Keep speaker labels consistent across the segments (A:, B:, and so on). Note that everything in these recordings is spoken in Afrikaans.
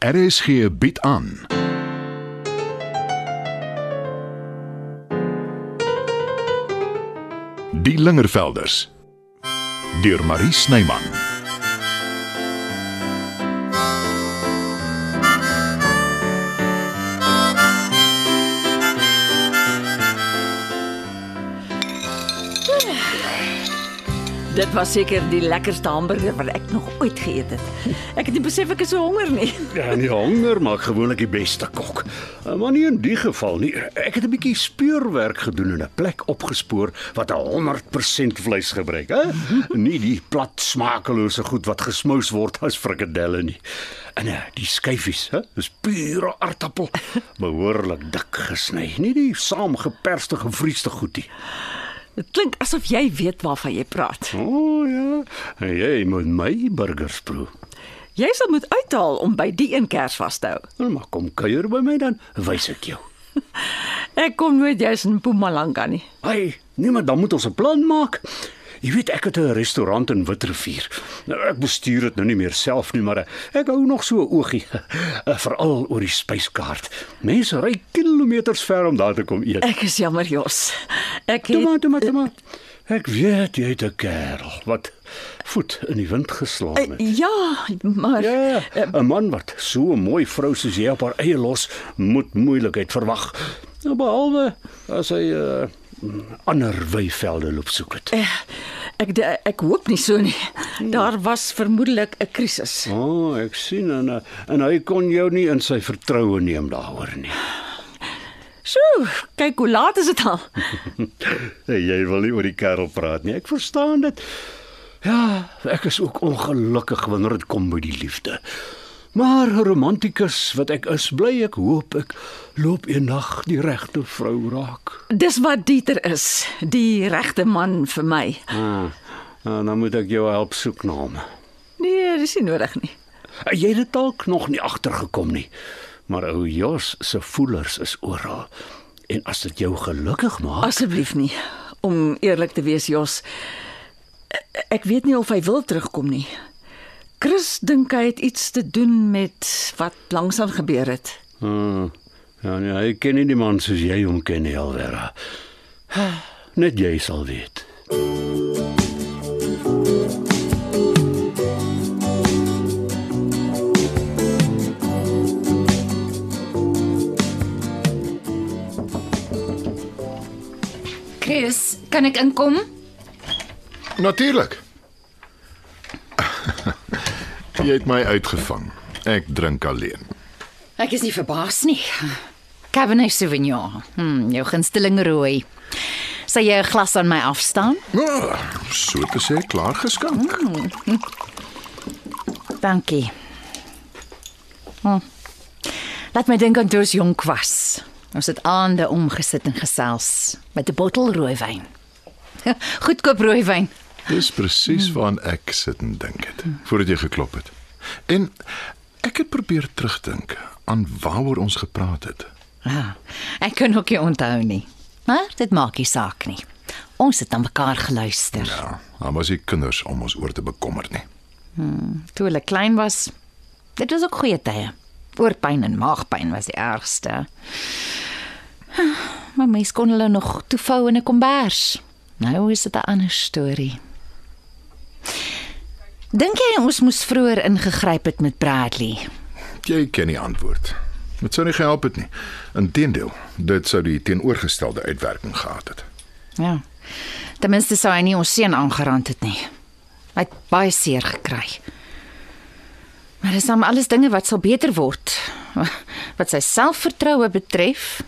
A: RSG bied aan. Die Lingervelders deur Marie Snyman.
B: Dit was seker die lekkerste hamburger wat ek nog ooit geëet het. Ek het nie besef ek is so honger nie.
C: Ja, nie honger maak gewoonlik die beste kok. Eh, Maar nie in die geval nie. Ek het 'n bietjie speurwerk gedoen en 'n plek opgespoor wat 'n 100% vleis gebruik, hè? Nie die plat smakelose goed wat gesmous word as frikadelle nie. En eh, die skyfies, hè? Dis pure aartappel, behoorlik dik gesny, nie die saamgeperste gevriesde goedie.
B: Dit klink asof jy weet waarvan jy praat.
C: O oh, ja, jy moet my burgers proe.
B: Jy sal moet uithaal om by die een kers vas te hou.
C: Nou maar kom kuier by my dan, wys ek jou.
B: Ek kom nooit jous in Mpumalanga nie.
C: Hey, nee, maar dan moet ons 'n plan maak. Jy weet ek het 'n restaurant in Witrivier. Nou ek bestuur dit nou nie meer self nie, maar ek hou nog so 'n oogie eh, veral oor die spyskaart. Mense ry kilometers ver om daar te kom eet.
B: Ek is jammer, Jos. Ek
C: Toe maar,
B: het
C: toe maar, toe maar. Ek weet jy het 'n kerel wat voet in die wind geslaan het.
B: Ja, maar
C: Ja, 'n man wat so 'n mooi vrou soos jy op haar eie los, moet moeilikheid verwag. Nou, Behalwe as hy 'n uh, ander weivelde loop soek het.
B: eh, ek de- ek hoop nie so nie. Daar was vermoedelik 'n krisis.
C: O, oh, ek sien en uh, en hy kon jou nie in sy vertroue neem daaroor nie.
B: Sjoe, kyk hoe laat is dit al.
C: Jy wil nie oor die kerel praat nie. Ek verstaan dit. Ja, ek is ook ongelukkig wanneer dit kom by die liefde. Maar 'n romantikus wat ek is, bly ek hoop ek loop eendag die regte vrou raak.
B: Dis wat Dieter is, die regte man vir my.
C: Ah, nou, dan moet ek jou help soek na hom.
B: Nee, dis nie nodig nie.
C: Eh, Jy het dit dalk nog nie agtergekom nie. Maar ou Jos se voelers is oral. En as dit jou gelukkig maak,
B: Asseblief nie. Om eerlik te wees, Jos, ek weet nie of hy wil terugkom nie. Chris dink hy het iets te doen met wat langsaan gebeur het.
C: Hmm. Ja, nee, hy ken nie die man soos jy hom ken nie, Alvera. Net jy sal weet.
D: Chris, kan ek inkom?
A: Natuurlik. Jy het my uitgevang. Ek drink alleen.
D: Ek is nie verbaas nie. Cabernet Sauvignon. Hm, jou gunsteling rooi. Sal jy 'n glas aan my afstaan?
A: Oh, so te sê klaar geskank.
D: Dankie. Hm. Laat my dink aan toe ons jonk was. Ons het aande omgesit en gesels met 'n bottel rooiwyn. Goedkoop rooiwyn.
A: Dis presies waaraan ek sit en dink het voordat jy geklop het. En ek het probeer terugdink aan waaroor ons gepraat het.
D: Ah, ek kan ook nie onthou nie. Maar dit maak nie saak nie. Ons het aan mekaar geluister.
A: Ja, maar was ek kinders om ons oor te bekommer nie.
D: toe hulle klein was. Dit was ook goeie tye. Oorpyn en maagpyn was die ergste. Maar mens kon hulle nog toevou in 'n kombers. Nou is dit 'n ander storie. Dink jy ons moes vroeër ingegryp het met Bradley?
A: Jy ken die antwoord. Dit sou nie gehelp het nie. Inteendeel, dit sou die teenoorgestelde uitwerking gehad het.
D: Ja. Ten minste sou hy nie ons seun aangerand het nie. Hy het baie seer gekry. Maar dis dan alles dinge wat sal beter word. Wat sy selfvertroue betref,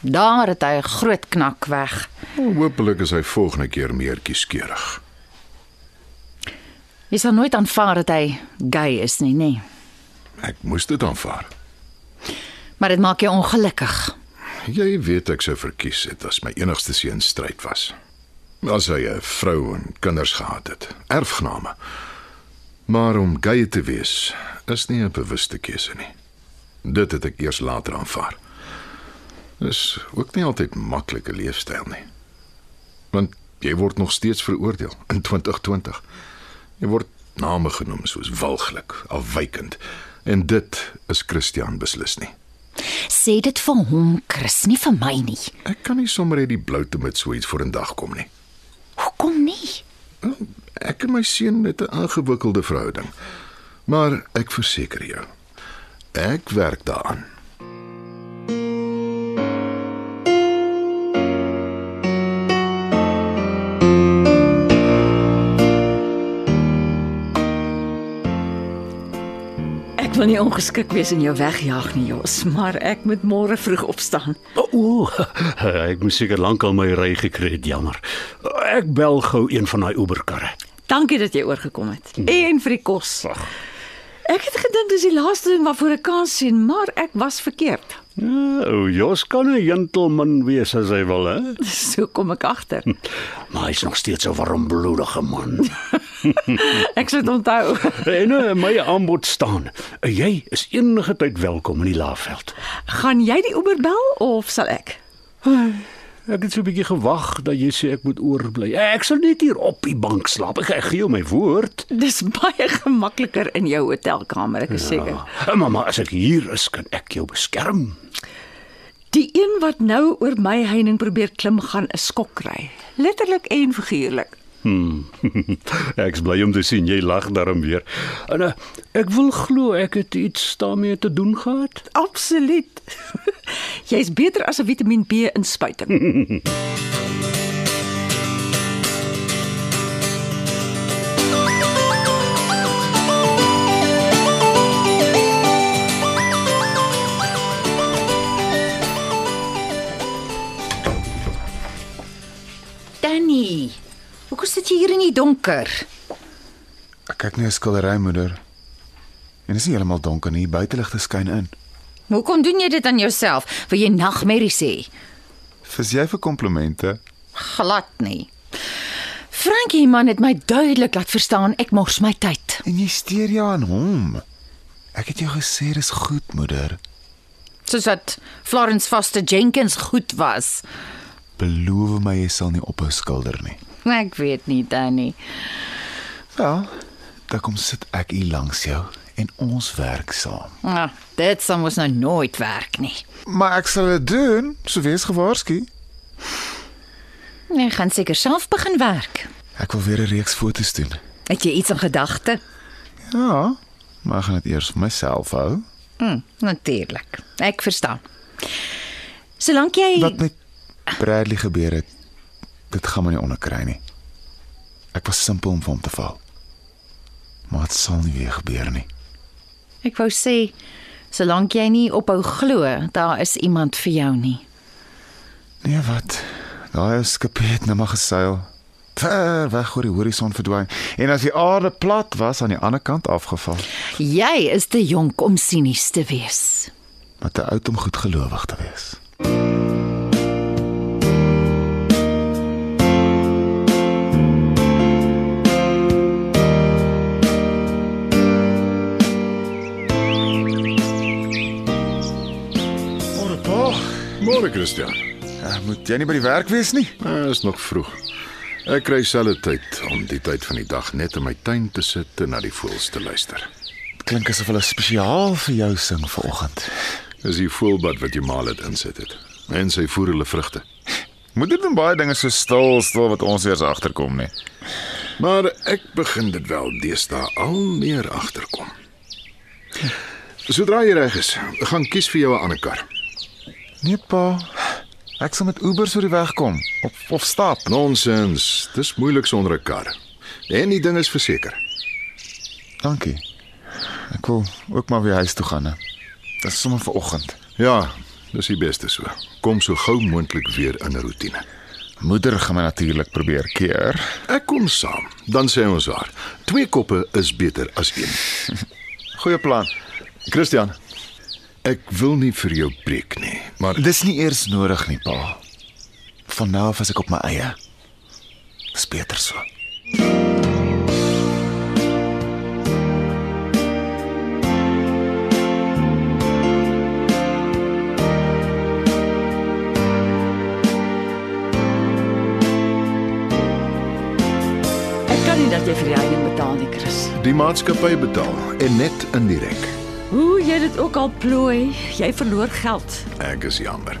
D: daar het hy 'n groot knak weg.
A: Hoopelik is hy volgende keer meer kieskeurig.
D: Jy sal nooit aanvaar dat hy gay is nie, nê.
A: Ek moes dit aanvaar.
D: Maar dit maak jou ongelukkig.
A: Jy weet ek sou verkies het as my enigste seun stryd was. As hy 'n vrou en kinders gehad het, erfgename. Maar om gay te wees is nie 'n bewuste keuse nie. Dit het ek eers later aanvaar. Dis ook nie altyd maklike leefstyl nie. Want jy word nog steeds veroordeel in 2020. Jy word name genoem soos walglik, afwykend, En dit is Christian beslis nie.
D: Sê dit vir hom, Chris, nie vir my nie.
A: Ek kan nie sommer net die bloute met so iets voor 'n dag kom nie.
D: Hoekom nie?
A: Ek en my seun het 'n ingewikkelde verhouding. Maar ek verseker jou, ek werk daaraan.
B: Ek wil nie ongeskik wees en jou wegjaag nie, Jos, maar ek moet môre vroeg opstaan.
C: O, oh, ek moes seker lankal my ry gekry het, jammer. Ek bel gou een van daai Uberkarre.
B: Dankie dat jy oorgekom het. En vir die kos. Ek het gedink dis die laaste ding waarvoor ek kans sien, maar ek was verkeerd.
C: Ja, ou Jos kan 'n gentleman wees as hy wil, hè?
B: So kom ek agter.
C: Maar hy's nog steeds 'n warmbloedige man.
B: Ek sal dit onthou.
C: en uh, my aanbod staan. Jy is enige tyd welkom in die Laagveld.
B: Gaan jy die Uber bel of sal ek?
C: Ek het so 'n bietjie gewag dat jy sê ek moet oorbly. Ek sal net hier op die bank slaap. Ek, ek gee jou my woord.
B: Dis baie gemakliker in jou hotelkamer, ek is seker.
C: Ja, mamma, as ek hier is, kan ek jou beskerm.
B: Die een wat nou oor my heining probeer klim gaan 'n skok kry. Letterlik en figuurlik.
C: Ek's bly om te sien jy lag daarom weer. En uh, ek wil glo ek het iets daarmee te doen gehad.
B: Absoluut. Jy's beter as 'n Vitamiin B inspuiting.
D: Danny, hoekom sit jy hier in die donker?
E: Ek kyk na 'n skildery moeder. En dit is nie heeltemal donker nie, die buiteligte skyn in.
D: Hoekom doen jy dit aan jouself? Wil jy nagmerries hê?
E: Vis jy vir komplimente?
D: Glad nie. Frankie man het my duidelik laat verstaan ek mors my tyd.
E: En jy steur jou aan hom. Ek het jou gesê dis goed, moeder.
D: Soos dat Florence Foster Jenkins goed was.
E: Beloof my jy sal nie ophou skilder nie.
D: Ek weet nie, Danny.
E: Wel, dan kom sit ek hier langs jou en ons werk saam.
D: Ah, dit sal mos nou nooit werk nie.
E: Maar ek sal dit doen, so wees gewaarsku.
D: Jy gaan seker self begin werk.
E: Ek wil weer 'n reeks foto's doen.
D: Het jy iets in gedagte?
E: Ja, maar ek gaan dit eers vir myself hou.
D: Hm, natuurlik. Ek verstaan. Solank jy
E: Wat met Bradley gebeur het, dit gaan my nie onderkry nie. Ek was simpel om vir hom te val. Maar dit sal nie weer gebeur nie.
D: Ek wou sê solank jy nie ophou glo daar is iemand vir jou nie.
E: Nee, wat? Daai ou skipie het nou maar geseil. Ver weg oor die horison verdwyn. En as die aarde plat was, aan die ander kant afgeval.
D: Jy is te jonk om sinies te wees.
E: Maar te oud om goedgelowig te wees.
A: Môre, Christian.
E: Ja, moet jy nie by die werk wees nie.
A: Dit is nog vroeg. Ek kry selfe tyd om die tyd van die dag net in my tuin te sit en na die voëls te luister.
E: Klink asof hulle spesiaal vir jou sing vanoggend.
A: Dis die voëlbad wat jy maal het insit het. En sy voer hulle vrugte.
E: Moeder doen baie dinge so stil stil wat ons eers agterkom nie.
A: Maar ek begin dit wel deesdae al meer agterkom. Sodra jy reg is, gaan kies vir jou 'n ander kar.
E: Nee pa. Ek sal met Uber so die weg kom of of stap.
A: Nonsens, dis moeilik sonder 'n kar. En die ding is verseker.
E: Dankie. Ek wil ook maar weer huis toe gaan. hè. Dit is sommer vanoggend.
A: Ja, dis die beste so. Kom so gou moontlik weer in 'n roetine.
E: Moeder gaan my natuurlik probeer keer.
A: Ek kom saam, dan sê ons waar. Twee koppe is beter as een.
E: Goeie plan.
A: Christian, ek wil nie vir jou breek nie, maar
E: Dis nie eers nodig nie, pa. Van nou af is ek op my eie. Dis beter so.
B: Ek kan nie dat jy vir die heining betaal nie, Chris.
A: die maatskappy betaal en net indirek.
B: Hoe jy dit ook al plooi, jy verloor geld.
A: Ek is jammer.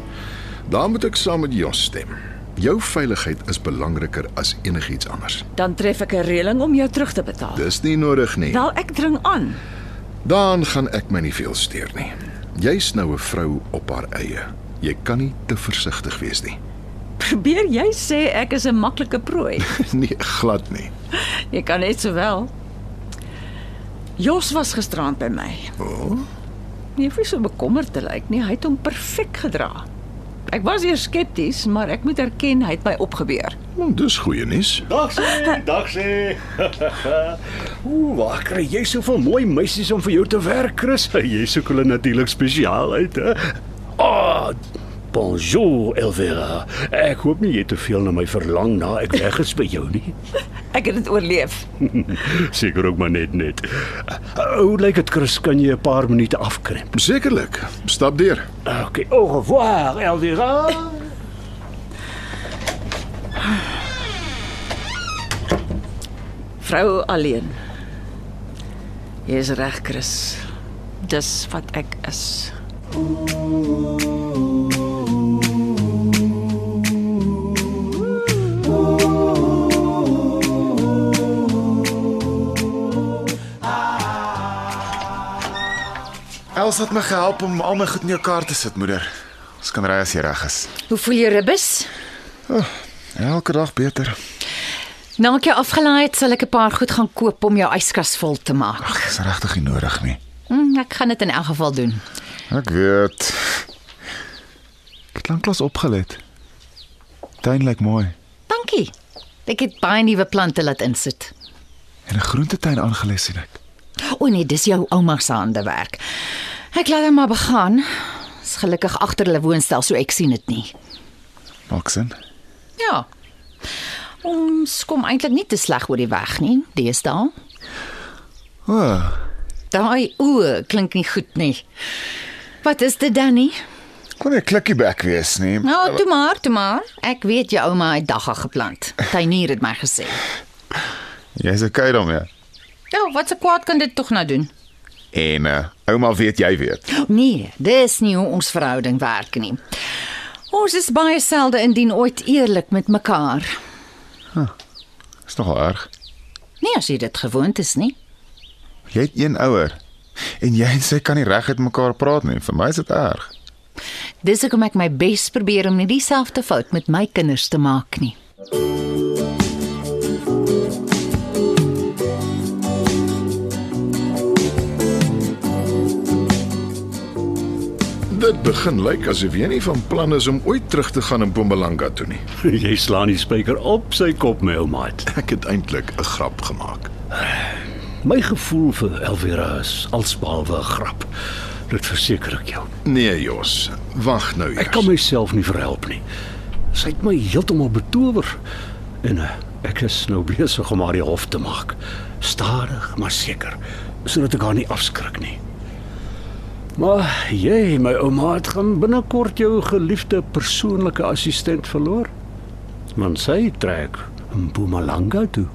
A: Daar moet ek saam met Jos stem. Jou veiligheid is belangriker as enigiets anders.
B: Dan tref ek 'n reëling om jou terug te betaal.
A: Dis nie nodig nie.
B: Wel, ek dring aan.
A: Dan gaan ek my nie veel steur nie. Jy's nou 'n vrou op haar eie. Jy kan nie te versigtig wees nie.
B: Probeer jy sê ek is 'n maklike prooi?
A: Nee, glad nie.
B: Jy kan net sowel. Jos was gisterand by my.
A: O,
B: Jy hoef nie so bekommerd te lyk nie. Hy het hom perfek gedra. Ek was eers skepties, maar ek moet erken hy het my opgeweer.
A: nou, dis goeie nuus.
C: Dag sê, dag sê. Ooh, waar kry jy soveel mooi meisies om vir jou te werk, Chris? Jy soek hulle natuurlik spesiaal uit, hè? Ah, oh, bonjour Elvira. Ek hoop nie jy het te veel na my verlang na ek weg is by jou nie.
B: Ek het dit oorleef.
C: Seker ook maar net net. Hoe lyk dit, Chris? Kan jy 'n paar minute afkrimp?
A: Sekerlik. Stap deur.
C: Okay, au revoir Elvira.
B: Vrou alleen. Jy is reg, Chris. Dis wat ek is.
E: Els het my gehelp om al my goed in jou kar te sit, moeder. Ons kan ry as jy reg is.
D: Hoe voel jy ribbes?
E: Elke dag beter.
D: Nou ek jou afgelaai het, sal ek 'n paar goed gaan koop om jou yskas vol te maak.
E: Ag, dis regtig nie nodig nie.
D: Hm, ek gaan dit in elk geval doen.
E: Ek weet. Ek het lanklaas opgelet. Tuin lyk mooi
D: Dankie. Ek het baie nuwe plante laat insit.
E: en 'n groentetuin aangelê sien ek.
D: O nee, dis jou ouma se handewerk. Ek laat hom maar begaan. Is gelukkig agter hulle woonstel, so ek sien dit nie.
E: Maak sin.
D: Ja. Ons kom eintlik nie te sleg oor die weg nie, deesdae.
E: O, oh,
D: Daai oë klink nie goed nie. Wat is dit dan nie?
E: kon nie 'n klikkie back wees nie.
D: Nou, toe maar, toe maar. Ek weet jou ouma het dagga geplant. Tuinier het my gesê.
E: Jy's okay daarmee.
D: Ja, wat se kwaad kan dit tog nou doen?
E: En uh, ouma weet jy weet.
D: Nee, dis nie hoe ons verhouding werk nie. Ons is baie selde indien ooit eerlik met mekaar.
E: Dis nogal erg.
D: Nee, as jy dit gewoond is nie.
E: Jy het een ouer en jy en sy kan nie reg met mekaar praat nie. Vir my is dit erg.
D: Dis hoekom ek my bes probeer om nie dieselfde fout met my kinders te maak nie.
A: Dit begin lyk asof jy nie van plan is om ooit terug te gaan in Mpumalanga toe nie.
C: jy slaan die spyker op sy kop, my ou maat.
A: Ek het eintlik 'n grap gemaak.
C: My gevoel vir Elvira is alsbehalwe 'n grap. Dit verseker ek jou.
A: Nee, Jos. Wag nou eers.
C: Ek kan myself nie verhelp nie. Sy het my heeltemal betower en eh, ek is nou besig om haar die hof te maak. Stadig, maar seker, sodat ek haar nie afskrik nie. Maar jy, my ouma het gaan binnekort jou geliefde persoonlike assistent verloor. Want sy trek in Mpumalanga toe.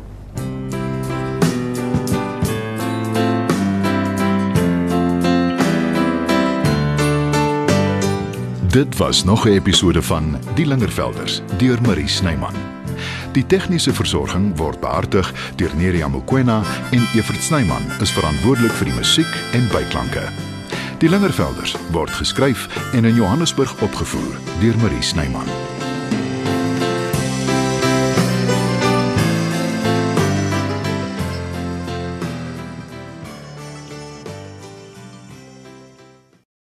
A: Dit was nog 'n episode van Die Lingervelders deur Marie Snyman. Die tegniese versorging word behartig deur Neriya Mkwena en Evert Snyman is verantwoordelik vir die musiek en byklanke. Die Lingervelders word geskryf en in Johannesburg opgevoer deur Marie Snyman.